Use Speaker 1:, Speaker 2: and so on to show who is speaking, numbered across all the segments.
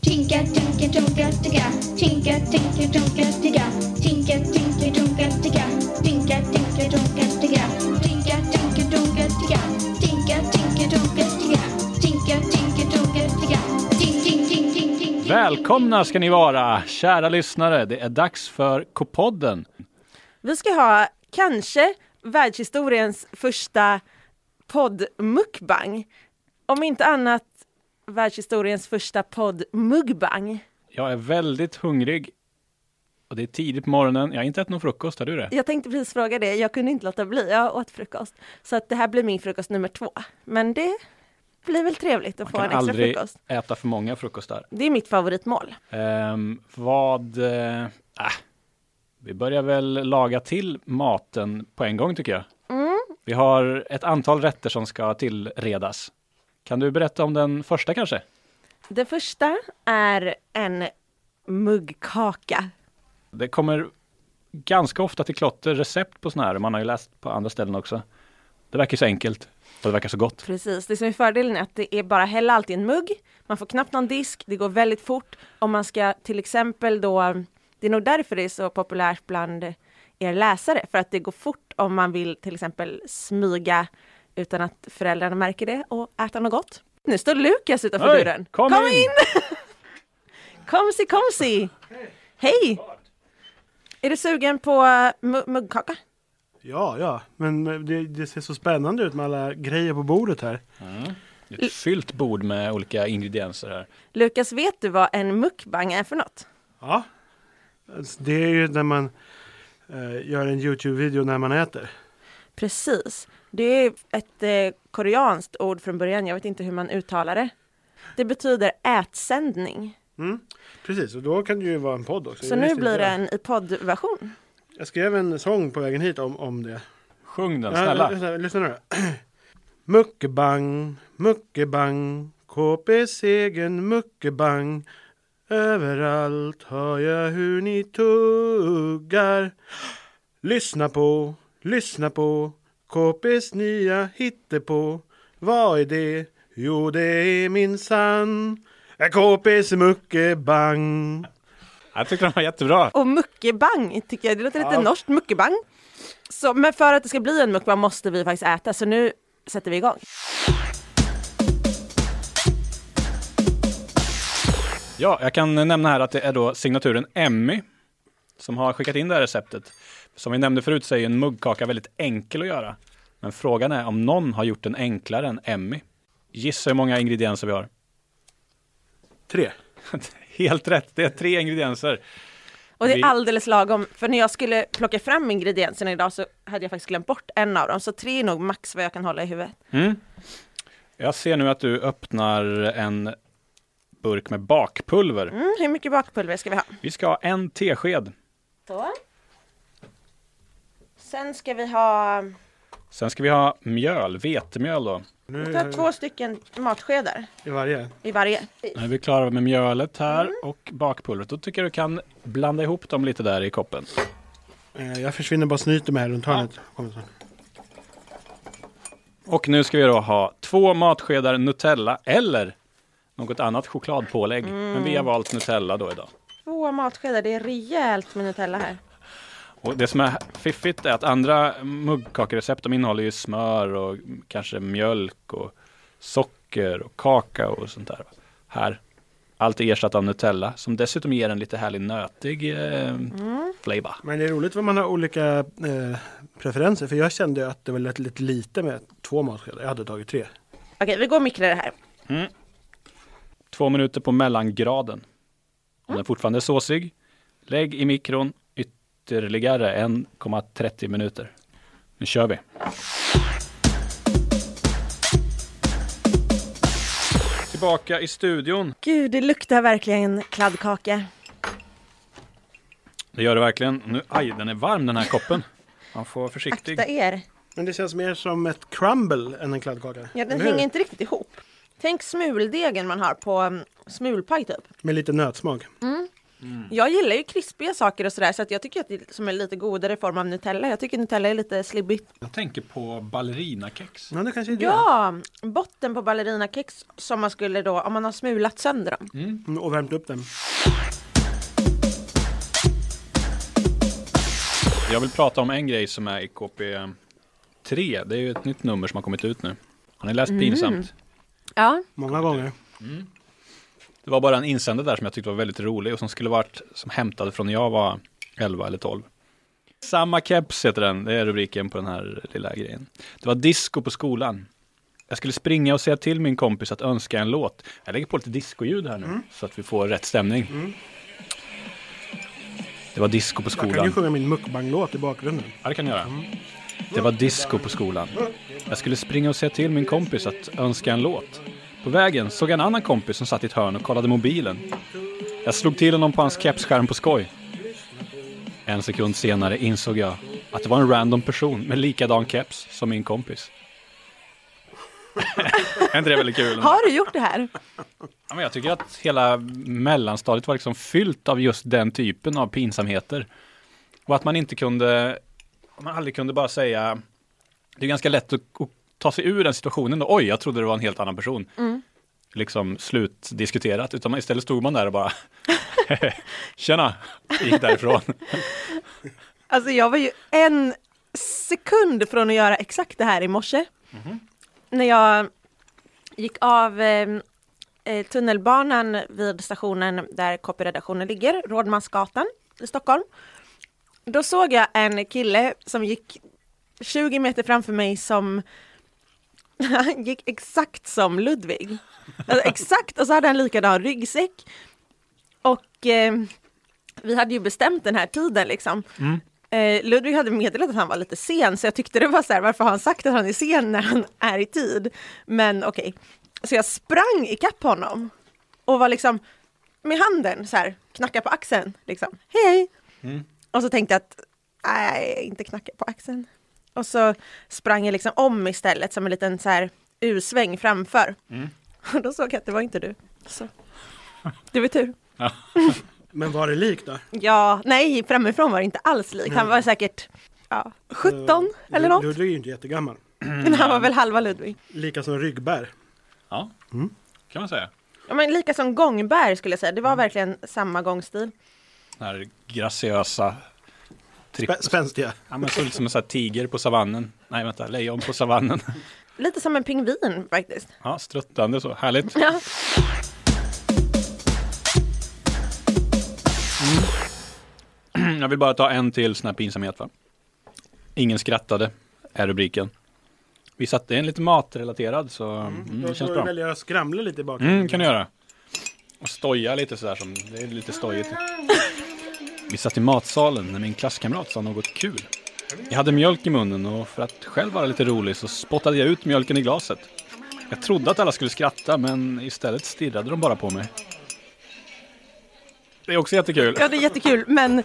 Speaker 1: Tinka, tinka, tonka, ticka. Tinka, tinka, tonka, ticka. Tinka, tinka, tonka, ticka. Tinka, tinka, tonka, ticka. Tinka, tinka, tonka, ticka. Tinka, tinka, tonka, ticka. Tinka, tinka, tonka, ticka. Tink, tink, tink, tink, tink.
Speaker 2: Välkomna ska ni vara, kära lyssnare. Det är dags för K-podden.
Speaker 3: Vi ska ha kanske världshistoriens första podd-mukbang. Om inte annat världshistoriens första podd-mugbang.
Speaker 2: Jag är väldigt hungrig och det är tidigt på morgonen. Jag har inte ätit någon frukost, har du det?
Speaker 3: Jag tänkte precis fråga det, jag kunde inte låta bli, jag åt frukost. Så att det här blir min frukost nummer två. Men det blir väl trevligt att få
Speaker 2: kan
Speaker 3: en extra
Speaker 2: aldrig
Speaker 3: frukost.
Speaker 2: äta för många frukostar.
Speaker 3: Det är mitt favoritmål.
Speaker 2: Ehm, vad... eh, ah, vi börjar väl laga till maten på en gång tycker jag.
Speaker 3: Mm.
Speaker 2: Vi har ett antal rätter som ska tillredas. Kan du berätta om den första kanske?
Speaker 3: Det första är en muggkaka.
Speaker 2: Det kommer ganska ofta till klotter recept på sådana här. Man har ju läst på andra ställen också. Det verkar ju så enkelt och det verkar så gott.
Speaker 3: Precis, det som är fördelen är att det är bara hälla allt i en mugg, man får knappt någon disk, det går väldigt fort. Om man ska till exempel då, det är nog därför det är så populärt bland er läsare, för att det går fort om man vill till exempel smyga utan att föräldrarna märker det och äta något gott. Nu står Lukas utanför
Speaker 2: Oj,
Speaker 3: dörren.
Speaker 2: kom in!
Speaker 3: Komsi, komsi! Hej! Är du sugen på mu- muggkaka?
Speaker 4: Ja, ja, men eh, det, det ser så spännande ut med alla grejer på bordet här.
Speaker 2: Det är Ett fyllt bord med olika ingredienser här.
Speaker 3: Lukas, vet du vad en mukbang är för något?
Speaker 4: Ja, Alltså, det är ju när man eh, gör en Youtube-video när man äter.
Speaker 3: Precis. Det är ett eh, koreanskt ord från början, jag vet inte hur man uttalar det. Det betyder ätsändning.
Speaker 4: Precis, och då kan det ju vara en podd också.
Speaker 3: Så
Speaker 4: Jag
Speaker 3: nu
Speaker 4: visste
Speaker 3: blir
Speaker 4: inte
Speaker 3: det en i poddversion.
Speaker 4: Jag skrev en sång på vägen hit om, om det.
Speaker 2: Sjung den,
Speaker 4: Ja,
Speaker 2: snälla.
Speaker 4: lyssna, lyssna nu då. Muckebang, muckebang, KPs egen muckebang. Överallt hör jag hur ni tuggar. Lyssna på, lyssna på, KPs nya hittepå. Vad är det? Jo, det är min sann. KPs muckebang.
Speaker 2: Jag tyckte den var jättebra.
Speaker 3: Och muckebang tycker jag, det låter lite norskt, muckebang. Så, men för att det ska bli en mukbang måste vi faktiskt äta, så nu sätter vi igång.
Speaker 2: Ja, jag kan nämna här att det är då signaturen Emmy som har skickat in det här receptet. Som vi nämnde förut så är ju en muggkaka väldigt enkel att göra. Men frågan är om någon har gjort den enklare än Emmy. Gissa hur många ingredienser vi har.
Speaker 4: Tre.
Speaker 2: Helt rätt, det är tre ingredienser.
Speaker 3: Och det
Speaker 2: Vi-
Speaker 3: är alldeles lagom, för när jag skulle plocka fram ingredienserna idag så hade jag faktiskt glömt bort en av dem, så tre är nog max vad jag kan hålla i huvudet.
Speaker 2: Mm. Jag ser nu att du öppnar en burk med bakpulver.
Speaker 3: Mm, hur mycket bakpulver ska vi ha?
Speaker 2: Vi ska ha en tesked.
Speaker 3: Så. Sen ska vi ha,
Speaker 2: Sen ska vi ha mjöl, vetemjöl då.
Speaker 4: Nu
Speaker 3: vi tar två stycken matskedar
Speaker 4: i varje.
Speaker 3: i varje.
Speaker 2: Nu är vi klara med mjölet här och bakpulvret. Då tycker jag du kan blanda ihop dem lite där i koppen.
Speaker 4: Eh, Jag försvinner bara och snyter mig här runt hörnet. Kommer snart.
Speaker 2: Och nu ska vi då ha två matskedar Nutella eller något annat chokladpålägg. Men vi har valt Nutella då idag.
Speaker 3: Två matskedar, det är rejält med Nutella här.
Speaker 2: Och det som är fiffigt är att andra muggkakerecept de innehåller ju smör och kanske mjölk och socker och kakao och sånt där. Här, allt är ersatt av Nutella som dessutom ger en lite härlig nötig eh, flavor.
Speaker 4: Men det är roligt vad man har olika eh, preferenser. För jag kände att det var lite, lite lite med två matskedar. Jag hade tagit tre.
Speaker 3: Okej, vi går och mikrar det här.
Speaker 2: Två minuter på mellangraden. Om den fortfarande är såsig, lägg i mikron ytterligare 1,30 minuter. Nu kör vi. Tillbaka i studion.
Speaker 3: Gud, det luktar verkligen kladdkaka.
Speaker 2: Det gör det verkligen. Nu, aj, den är varm den här koppen. Man får vara försiktig.
Speaker 3: Akta er.
Speaker 4: Men det känns mer som ett crumble än en kladdkaka.
Speaker 3: Ja, den
Speaker 4: Eller hur?
Speaker 3: hänger inte riktigt ihop. Tänk smuldegen man har på um, mm, smulpaj typ.
Speaker 4: Med lite nötsmak.
Speaker 3: Jag gillar ju krispiga saker och sådär så att jag tycker att det är som en lite godare form av Nutella. Jag tycker Nutella är lite slibbigt.
Speaker 5: Jag tänker på ballerinakex.
Speaker 4: Ja, det kanske är det.
Speaker 3: Ja, botten på ballerinakex som man skulle då, om man har smulat sönder dem.
Speaker 4: Mm, Och värmt upp den.
Speaker 2: Jag vill prata om en grej som är i KP3. Det är ju ett nytt nummer som har kommit ut nu. Har ni läst pinsamt?
Speaker 3: Ja,
Speaker 4: Många gånger.
Speaker 2: Det var bara en insändare där som jag tyckte var väldigt rolig och som skulle varit som hämtad från när jag var 11 eller 12. Samma keps heter den, det är rubriken på den här lilla grejen. Det var disco på skolan. Jag skulle springa och säga till min kompis att önska en låt. Jag lägger på lite discoljud här nu så att vi får rätt stämning. Det var disco på
Speaker 4: Jag kan ju
Speaker 2: skolan.
Speaker 4: sjunga min mukbang-låt i bakgrunden.
Speaker 2: Ja, det kan jag göra. Det var disco på skolan. Jag skulle springa och säga till min kompis att önska en låt. På vägen såg jag en annan kompis som satt i ett hörn och kollade mobilen. Jag slog till honom på hans kepsskärm på skoj. En sekund senare insåg jag att det var en random person med likadan keps som min kompis. är inte det väldigt kul?
Speaker 3: har du gjort det här?
Speaker 2: Ja, men jag tycker att hela mellanstadiet var liksom fyllt av just den typen av pinsamheter. Och att man inte kunde, man aldrig kunde bara säga, det är ganska lätt att, att ta sig ur den situationen då, oj, jag trodde det var en helt annan person. Liksom slutdiskuterat, utan man, istället stod man där och bara, tjena, gick därifrån.
Speaker 3: Alltså jag var ju en sekund från att göra exakt det här i morse. När jag gick av eh, eh, tunnelbanan vid stationen där copyredaktionen ligger, Rådmansgatan i Stockholm. Då såg jag en kille som gick 20 meter framför mig som han gick exakt som Ludvig. Alltså exakt, och så hade han likadan ryggsäck. Och eh, vi hade ju bestämt den här tiden liksom. Eh, Ludvig hade meddelat att han var lite sen, så jag tyckte det var så här, varför har han sagt att han är sen när han är i tid? Men okej, så jag sprang ikapp honom och var liksom med handen så här, knacka på axeln, liksom, hej, hej. Och så tänkte jag att, nej, inte knacka på axeln. Och så sprang jag liksom om istället, som en liten så här U-sväng framför. Och då såg jag att det var inte du. Så. Det var tur.
Speaker 4: Men var det lik då?
Speaker 3: Ja, nej, framifrån var det inte alls likt. Han var säkert ja, 17 eller
Speaker 4: Lu-
Speaker 3: något.
Speaker 4: Ludvig är ju inte jättegammal.
Speaker 3: Men han var väl halva Ludvig.
Speaker 4: Lika som Ryggbär.
Speaker 2: Ja, kan man säga.
Speaker 3: Ja, men lika som Gångberg skulle jag säga. Det var verkligen samma gångstil.
Speaker 2: Den här graciösa, tripp,
Speaker 4: Spä- Spänstiga.
Speaker 2: ja, men såg ut som en sån här tiger på savannen. Nej, vänta, lejon på savannen.
Speaker 3: Lite som en pingvin faktiskt.
Speaker 2: Ja, struttande så, härligt.
Speaker 3: Ja.
Speaker 2: Jag vill bara ta en till sån här pinsamhet. Va? Ingen skrattade, är rubriken. Vi satt, det är en lite matrelaterad så mm,
Speaker 4: Då
Speaker 2: det känns
Speaker 4: får
Speaker 2: bra.
Speaker 4: du välja att skramla lite i bakgrunden.
Speaker 2: Mm, kan du göra. Och stoja lite sådär som, det är lite stojigt. Vi satt i matsalen när min klasskamrat sa något kul. Jag hade mjölk i munnen och för att själv vara lite rolig så spottade jag ut mjölken i glaset. Jag trodde att alla skulle skratta men istället stirrade de bara på mig. Det är också jättekul.
Speaker 3: ja, det är jättekul, men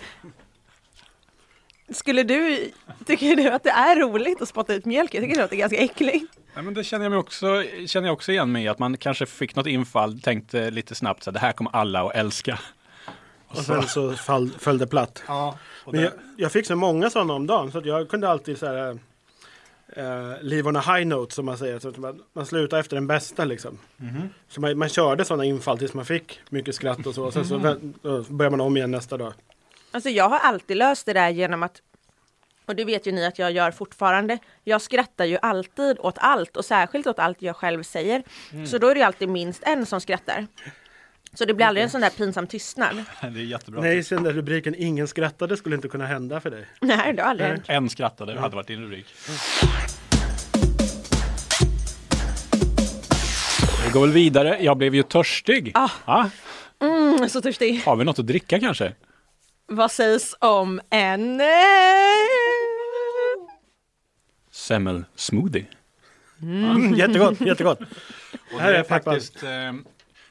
Speaker 3: skulle du, tycker du att det är roligt att spotta ut mjölk? Jag tycker att det är ganska äckligt.
Speaker 2: Ja, men det känner jag, mig också, känner jag också igen mig i, att man kanske fick något infall, tänkte lite snabbt så här, det här kommer alla att älska.
Speaker 4: Och sen så fall, föll det platt.
Speaker 2: Ja,
Speaker 4: Men jag, jag fick så många sådana om dagen så att jag kunde alltid så här, eh, leave on a high note som man säger. Så att man, man slutar efter den bästa liksom. Så man, man körde sådana infall tills man fick mycket skratt och så. Och sen så vä- då börjar man om igen nästa dag.
Speaker 3: Alltså jag har alltid löst det där genom att, och det vet ju ni att jag gör fortfarande, jag skrattar ju alltid åt allt och särskilt åt allt jag själv säger. Så då är det ju alltid minst en som skrattar. Så det blir aldrig en sån där pinsam tystnad.
Speaker 2: det är jättebra.
Speaker 4: Nej, sen den där rubriken Ingen skrattade skulle inte kunna hända för dig.
Speaker 3: Nej, det har aldrig hänt.
Speaker 2: En skrattade, det hade varit din rubrik. Vi går väl vidare, jag blev ju törstig.
Speaker 3: Ah.
Speaker 2: Ja,
Speaker 3: Mm, så törstig.
Speaker 2: har vi något att dricka kanske?
Speaker 3: Vad sägs om en... eh,
Speaker 2: Semmel-smoothie.
Speaker 4: Mm, jättegott, jättegott.
Speaker 2: Och
Speaker 4: Här är eh, peppar.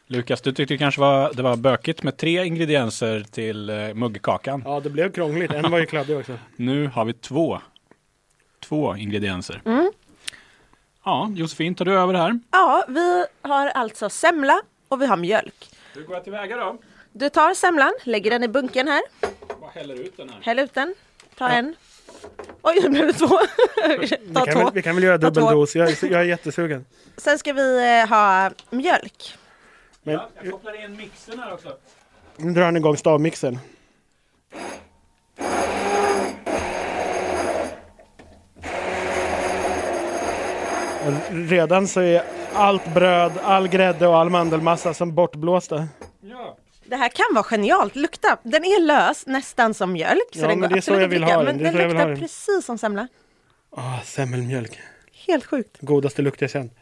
Speaker 2: Lukas, du tyckte kanske var, det var bökigt med tre ingredienser till eh, muggkakan.
Speaker 4: Ja, det blev krångligt. En var ju kladdig också.
Speaker 2: Nu har vi två. Två ingredienser.
Speaker 4: Mm.
Speaker 2: Ja, Josefin, tar du över här?
Speaker 3: Ja, vi har alltså semla och vi har mjölk.
Speaker 2: Hur går jag tillväga då?
Speaker 3: Du tar semlan, lägger den i bunken här.
Speaker 2: Bara häller ut den här.
Speaker 3: Häll ut den. Ta en. Oj, nu blev det två. Ta
Speaker 4: Vi kan,
Speaker 3: två.
Speaker 4: väl, vi kan väl göra
Speaker 3: Ta
Speaker 4: dubbel
Speaker 3: två.
Speaker 4: dos, jag, är- jag är jättesugen.
Speaker 3: Sen ska vi eh, ha mjölk.
Speaker 4: Men
Speaker 2: Ja, jag kopplar in mixen här också.
Speaker 4: nu drar han igång stavmixen. Och Redan så är allt bröd, all grädde och all mandelmassa som bortblåsta.
Speaker 2: Ja.
Speaker 3: Det här kan vara genialt. Lukta. Den är lös, nästan som mjölk. Så
Speaker 4: Ja,
Speaker 3: den
Speaker 4: men det är så
Speaker 3: absolut
Speaker 4: jag
Speaker 3: att
Speaker 4: vill
Speaker 3: dricka,
Speaker 4: ha den.
Speaker 3: Men
Speaker 4: Det
Speaker 3: den
Speaker 4: är så jag vill ha
Speaker 3: luktar
Speaker 4: den.
Speaker 3: precis som semla.
Speaker 4: Ah, semmelmjölk.
Speaker 3: Helt sjukt.
Speaker 4: Godaste lukt jag känt.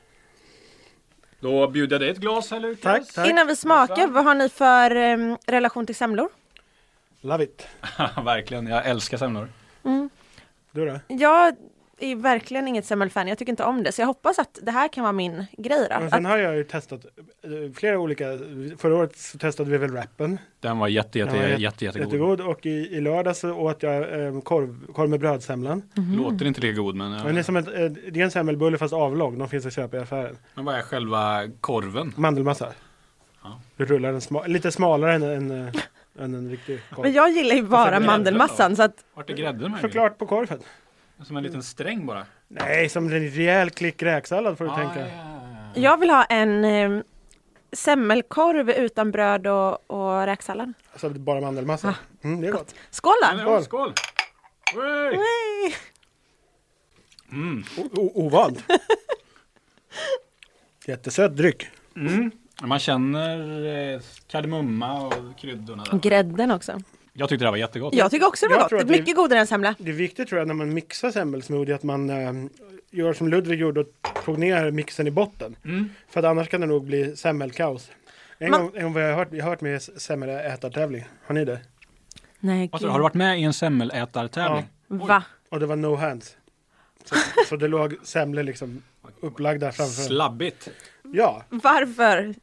Speaker 2: Då bjuder jag dig ett glas här Lukas.
Speaker 4: Tack, tack.
Speaker 3: Innan vi smakar, vad har ni för em, relation till semlor?
Speaker 4: Love it.
Speaker 2: tack. Verkligen, jag älskar semlor.
Speaker 4: Du då?
Speaker 3: Jag är verkligen inget semmelfan. Jag tycker inte om det. Så jag hoppas att det här kan vara min grej. Då.
Speaker 4: Men
Speaker 3: Att,
Speaker 4: sen har jag ju testat eh, flera olika. Förra året så testade vi väl rappen.
Speaker 2: Den var jätte, jätte,
Speaker 4: Den var jätte-
Speaker 2: jätte, jättegod.
Speaker 4: Jättegod. Och i, i lördags så åt jag eh, korv, korv med brödsemlan.
Speaker 2: Låter inte lika god men,
Speaker 4: Mm. Men det, är som ett, eh, det är en semmelbulle fast avlång. De finns att köpa i affären.
Speaker 2: eh, men vad är själva korven?
Speaker 4: Mandelmassa.
Speaker 2: Ja.
Speaker 4: Du rullar den sma- lite smalare än, än, eh, än en riktig korv.
Speaker 3: men jag gillar ju bara
Speaker 2: grädden
Speaker 3: mandelmassan. Så att,
Speaker 2: Vart är grädden möjligen?
Speaker 4: Såklart på korven.
Speaker 2: Som en liten sträng bara.
Speaker 4: Nej, som en rejäl klick räksallad får du
Speaker 2: Ah,
Speaker 4: tänka.
Speaker 2: ja, ja,
Speaker 4: Mm.
Speaker 2: ja.
Speaker 3: jag vill ha en em, semmelkorv utan bröd och, och räksallad.
Speaker 4: Alltså bara mandelmassa. Mm, det är gott.
Speaker 3: Skål då!
Speaker 2: Men, ja, Skål! Oj!
Speaker 3: Yay!
Speaker 4: O- o- ovant. Jättesöt dryck. Mm.
Speaker 2: Man känner eh, kardemumma och kryddorna där.
Speaker 3: Grädden också.
Speaker 2: Jag tyckte det här var jättegott.
Speaker 3: Jag tycker också det
Speaker 4: Jag
Speaker 3: var gott.
Speaker 4: tror
Speaker 3: Det
Speaker 4: att
Speaker 3: är
Speaker 4: vi-
Speaker 3: mycket godare än semla.
Speaker 4: Det är viktigt tror jag när man mixar semmelsmoothie att man eh, gör som Ludvig gjorde och tog ner mixen i botten. För att annars kan det nog bli semmelkaos. En,
Speaker 3: Man-
Speaker 4: gång, en gång har jag hört, jag har hört med semmelätartävling. Har ni det?
Speaker 3: Nej,
Speaker 2: Alltså, har du varit med i en semmelätartävling?
Speaker 3: Va?
Speaker 4: Och det var no hands. Så, så det låg semlor liksom upplagda framför.
Speaker 2: Slabbigt.
Speaker 4: Ja,
Speaker 3: Varför?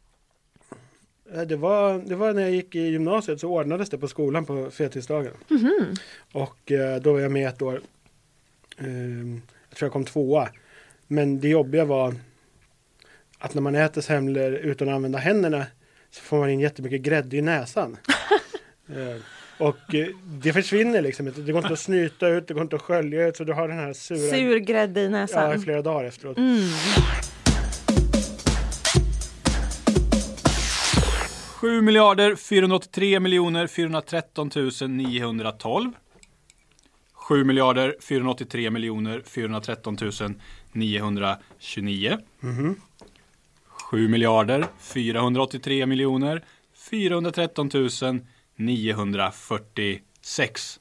Speaker 4: eh, det var, det var när jag gick i gymnasiet så ordnades det på skolan på fettisdagen.
Speaker 3: Mhm.
Speaker 4: Och eh, då var jag med ett år. Ehm, jag tror jag kom tvåa. Men det jobbiga var att när man äter semlor utan att använda händerna så får man in jättemycket grädde i näsan. Ehm, och eh, det försvinner liksom inte. Det går inte att snyta ut, det går inte att skölja ut. Så du har den här sura
Speaker 3: Sur grädde i
Speaker 4: ja, i
Speaker 3: näsan. Mm.
Speaker 4: flera dagar efteråt.
Speaker 2: Sju miljarder 483 miljoner 413 912. 7 miljarder 483 miljoner 413 929. 7 miljarder 483 miljoner 413 946.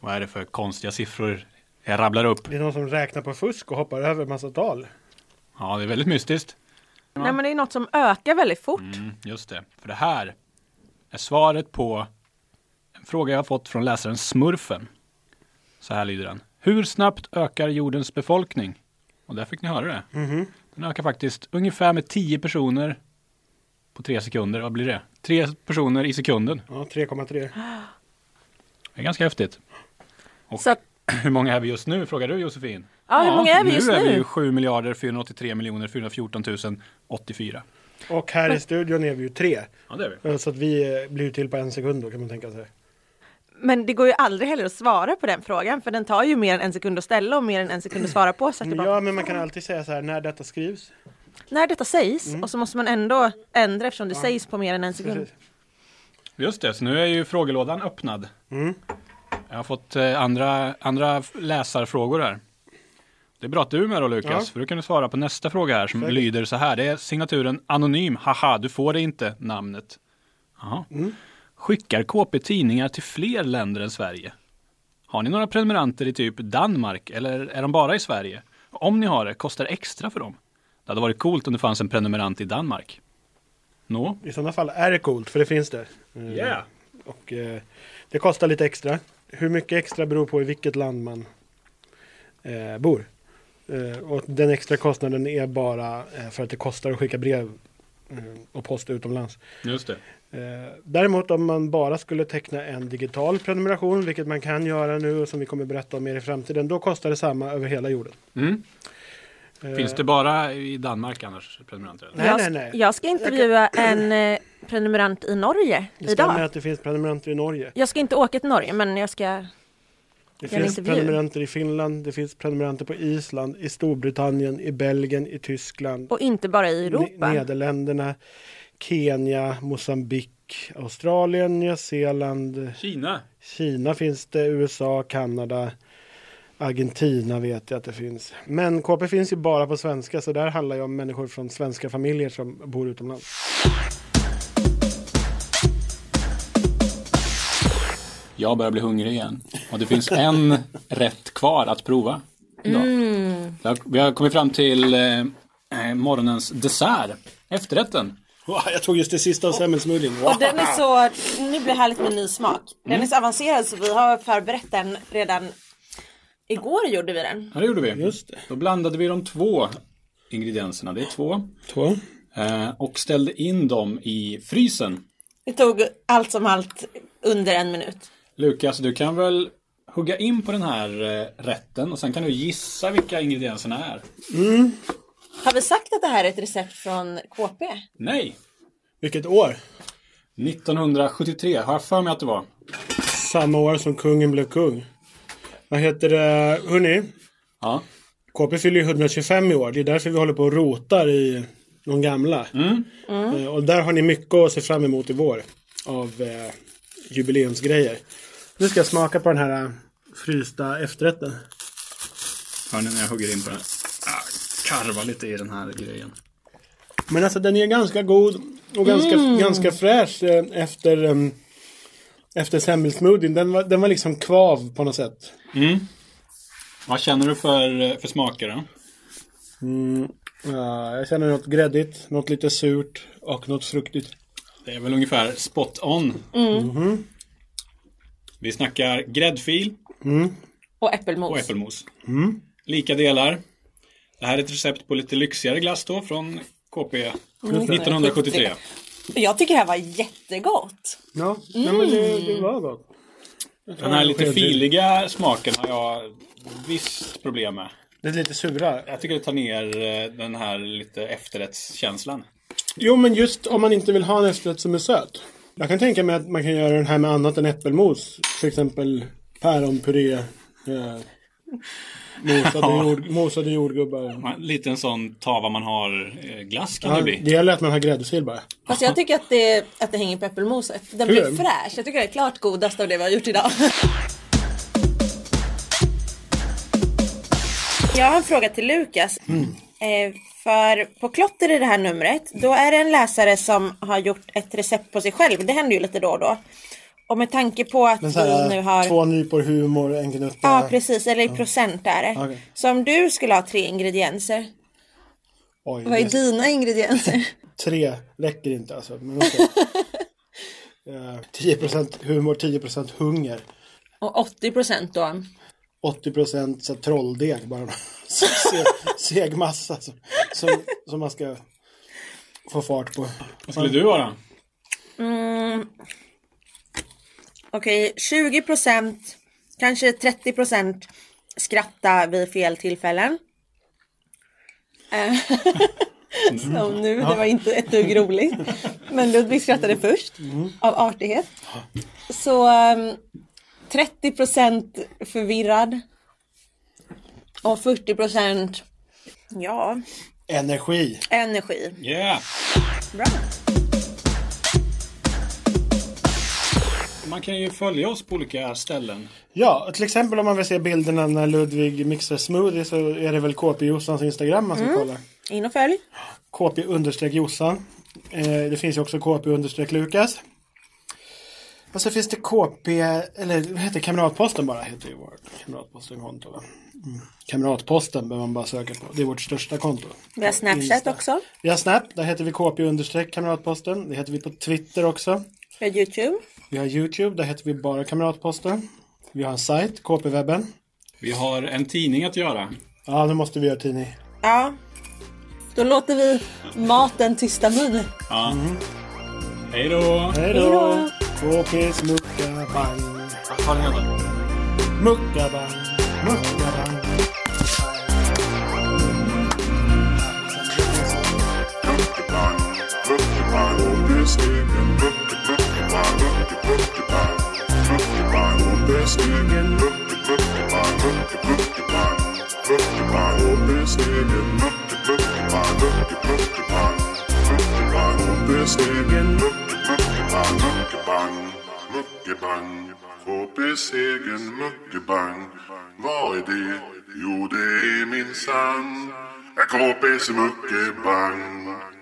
Speaker 2: Vad är det för konstiga siffror jag rabblar upp?
Speaker 4: Det är någon som räknar på fusk och hoppar över massa tal.
Speaker 2: Ja, det är väldigt mystiskt.
Speaker 3: Nej men det är något som ökar väldigt fort.
Speaker 2: Mm, just det, för det här är svaret på en fråga jag har fått från läsaren Smurfen. Så här lyder den. Hur snabbt ökar jordens befolkning? Och där fick ni höra det. Den ökar faktiskt ungefär med 10 personer på tre sekunder. Vad blir det? Tre personer i sekunden.
Speaker 4: Ja, 3,3.
Speaker 2: Det är ganska häftigt. Och
Speaker 3: Så att,
Speaker 2: hur många är vi just nu? Frågar du Josefin.
Speaker 3: ja, hur många är vi just
Speaker 2: nu? är vi
Speaker 3: nu?
Speaker 2: ju 7 miljarder 483 miljoner 414 084.
Speaker 4: Och här i studion är vi ju tre.
Speaker 2: Ja, det är vi.
Speaker 4: Eh, Så att vi eh, blir ju till på en sekund då kan man tänka sig.
Speaker 3: Men det går ju aldrig heller att svara på den frågan för den tar ju mer än en sekund att ställa och mer än en sekund att svara på. Så att det bara,
Speaker 4: Ja, men man kan alltid säga så här när detta skrivs.
Speaker 3: När detta sägs och så måste man ändå ändra eftersom det sägs på mer än en sekund.
Speaker 4: Mm. Precis.
Speaker 2: Just det, så nu är ju frågelådan öppnad.
Speaker 4: Mm.
Speaker 2: Jag har fått eh, andra, andra f- läsarfrågor här. Det är bra att du är med då Lukas,
Speaker 4: Ja.
Speaker 2: för då kan du svara på nästa fråga här som
Speaker 4: Säkert.
Speaker 2: lyder så här. Det är signaturen anonym, haha, du får det inte, namnet. Jaha.
Speaker 4: Mm.
Speaker 2: Skickar KP tidningar till fler länder än Sverige? Har ni några prenumeranter i typ Danmark eller är de bara i Sverige? Om ni har det, kostar det extra för dem? Det hade varit coolt om det fanns en prenumerant i Danmark. Nå?
Speaker 4: I sådana fall är det coolt, för det finns det. Eh, Och eh, det kostar lite extra. Hur mycket extra beror på i vilket land man eh, bor. Eh, och den extra kostnaden är bara eh, för att det kostar att skicka brev eh, och post utomlands.
Speaker 2: Just det.
Speaker 4: Eh, Däremot om man bara skulle teckna en digital prenumeration, vilket man kan göra nu och som vi kommer berätta om mer i framtiden, då kostar det samma över hela jorden.
Speaker 2: Mm.
Speaker 4: Eh,
Speaker 2: Finns det bara i Danmark annars prenumeranter? eller?
Speaker 4: Nej,
Speaker 3: jag,
Speaker 4: nej, nej.
Speaker 3: jag ska intervjua en eh, prenumerant i Norge
Speaker 4: Det stämmer
Speaker 3: idag.
Speaker 4: att det finns prenumeranter i Norge.
Speaker 3: Jag ska inte åka till Norge, men jag ska...
Speaker 4: Det
Speaker 3: Gör en
Speaker 4: finns
Speaker 3: intervju.
Speaker 4: prenumeranter i Finland, det finns prenumeranter på Island, i Storbritannien, i Belgien, i Tyskland,
Speaker 3: Och inte bara i Europa.
Speaker 4: Ne- Nederländerna, Kenya, Mosambik, Australien, Nya Zeeland,
Speaker 2: Kina.
Speaker 4: Kina finns det, USA, Kanada, Argentina vet jag att det finns. Men KP finns ju bara på svenska så där handlar ju om människor från svenska familjer som bor utomlands.
Speaker 2: Jag börjar bli hungrig igen. Och det finns en rätt kvar att prova. idag. Så jag- Vi har kommit fram till eh, eh, morgonens dessert. Efterrätten.
Speaker 4: jag tog just det sista av semmelsmoothien.
Speaker 3: Och den är så, nu blir det härligt med ny smak. Den är så avancerad så vi har förberett den redan igår gjorde vi den.
Speaker 2: Ja, det gjorde vi.
Speaker 4: Just det.
Speaker 2: Då blandade vi de två ingredienserna. Det är två.
Speaker 4: Två.
Speaker 2: Eh, och ställde in dem i frysen.
Speaker 3: Det tog allt som allt under en minut.
Speaker 2: Lukas, du kan väl hugga in på den här eh, rätten och sen kan du gissa vilka ingredienserna är.
Speaker 3: Har vi sagt att det här är ett recept från KP?
Speaker 2: Nej!
Speaker 4: Vilket år?
Speaker 2: 1973 har jag för mig att det var.
Speaker 4: Samma år som kungen blev kung. Vad heter det? Hörni,
Speaker 2: Ja.
Speaker 4: KP fyller ju 125 i år. Det är därför vi håller på och rotar i de gamla. Eh, Och där har ni mycket att se fram emot i vår av eh, jubileumsgrejer. Nu ska jag smaka på den här eh, frysta efterrätten.
Speaker 2: Hör ni när jag hugger in på den? Ah, karva lite i den här grejen.
Speaker 4: Men alltså den är ganska god och ganska, ganska fräsch eh, efter, eh, efter semmelsmoothien. Den var, den var liksom kvav på något sätt.
Speaker 2: Vad känner du för, för smaker då?
Speaker 4: Ja, jag känner något gräddigt, något lite surt och något fruktigt.
Speaker 2: Det är väl ungefär spot on. Vi snackar gräddfil
Speaker 3: Och äppelmos.
Speaker 2: och äppelmos. Lika delar. Det här är ett recept på lite lyxigare glass då från KP 1973.
Speaker 3: Jag tycker det här var jättegott.
Speaker 4: Ja, nej, men det, det var gott.
Speaker 2: Den här lite filiga smaken har jag visst problem med.
Speaker 4: Det är lite sura.
Speaker 2: Jag tycker det tar ner eh, den här lite efterrättskänslan.
Speaker 4: Jo, men just om man inte vill ha en efterrätt som är söt. Jag kan tänka mig att man kan göra den här med annat än äppelmos. Till exempel päronpuré. Eh, mosade, jord, mosade jordgubbar.
Speaker 2: Man- Lite en sån tava man har eh, glass kan
Speaker 4: Ja,
Speaker 2: det bli.
Speaker 4: det gäller att man har gräddfil bara.
Speaker 3: Fast jag tycker att det, att det hänger på äppelmoset. Den
Speaker 4: Hur?
Speaker 3: blir fräsch. Jag tycker det är klart godast av det vi har gjort idag. Jag har en fråga till Lukas.
Speaker 4: Mm.
Speaker 3: Eh, för på klotter i det här numret, då är det en läsare som har gjort ett recept på sig själv. Det händer ju lite då och då. Och med tanke på att
Speaker 4: Men
Speaker 3: vi
Speaker 4: så här,
Speaker 3: nu har...
Speaker 4: två nypor humor, en knutta.
Speaker 3: Ja, precis. Eller i procent är det.
Speaker 4: Okej.
Speaker 3: Så om du skulle ha tre ingredienser,
Speaker 4: Oj,
Speaker 3: vad är
Speaker 4: det-
Speaker 3: dina ingredienser?
Speaker 4: Tre räcker inte alltså. Men okej. Eh, 10% humor, 10% hunger.
Speaker 3: Och 80 procent då?
Speaker 4: 80% så här trolldeg bara. Se, seg massa som, som, som man ska få fart på.
Speaker 2: Vad skulle du ha då?
Speaker 3: Okej, 20 procent, kanske 30 procent skratta vid fel tillfällen. Eh, Som nu, det var inte ett dugg roligt. Men Ludvig skrattade först av artighet. Så ehm, 30 procent förvirrad. Och 40 procent, ja,
Speaker 4: Energi.
Speaker 3: energi.
Speaker 2: Yeah!
Speaker 3: Bra.
Speaker 2: Man kan ju följa oss på olika ställen.
Speaker 4: Ja, till exempel om man vill se bilderna när Ludvig mixar smoothie så är det väl KP Jossans Instagram man ska kolla.
Speaker 3: In och följ.
Speaker 4: KP understreck Jossan. Eh, det finns ju också KP understreck Lukas. Och så finns det KP, eller vad heter det? Kamratposten bara heter ju vårt Kamratposten-konto. va? Mm. Kamratposten behöver man bara söka på. Det är vårt största konto.
Speaker 3: Vi har Snapchat
Speaker 4: Insta.
Speaker 3: också.
Speaker 4: Vi har Snap, där heter vi KP understreck Kamratposten. Det heter vi på Twitter också.
Speaker 3: Vi har Youtube.
Speaker 4: Vi har YouTube, där heter vi bara Kamratposten. Vi har en sajt, KP-webben.
Speaker 2: Vi har en tidning att göra.
Speaker 4: Ja, nu måste vi göra tidning.
Speaker 3: Ja. Då låter vi maten tysta mun.
Speaker 2: Ja. Hej då!
Speaker 4: Hej då! KPs muckabang.
Speaker 2: Ha det gött.
Speaker 4: Muckabang. Muckabang.
Speaker 6: Muckabang, Muckabang.
Speaker 7: Egen muckebang, vad är det? Jo, det är min sann. En KP's muckebang.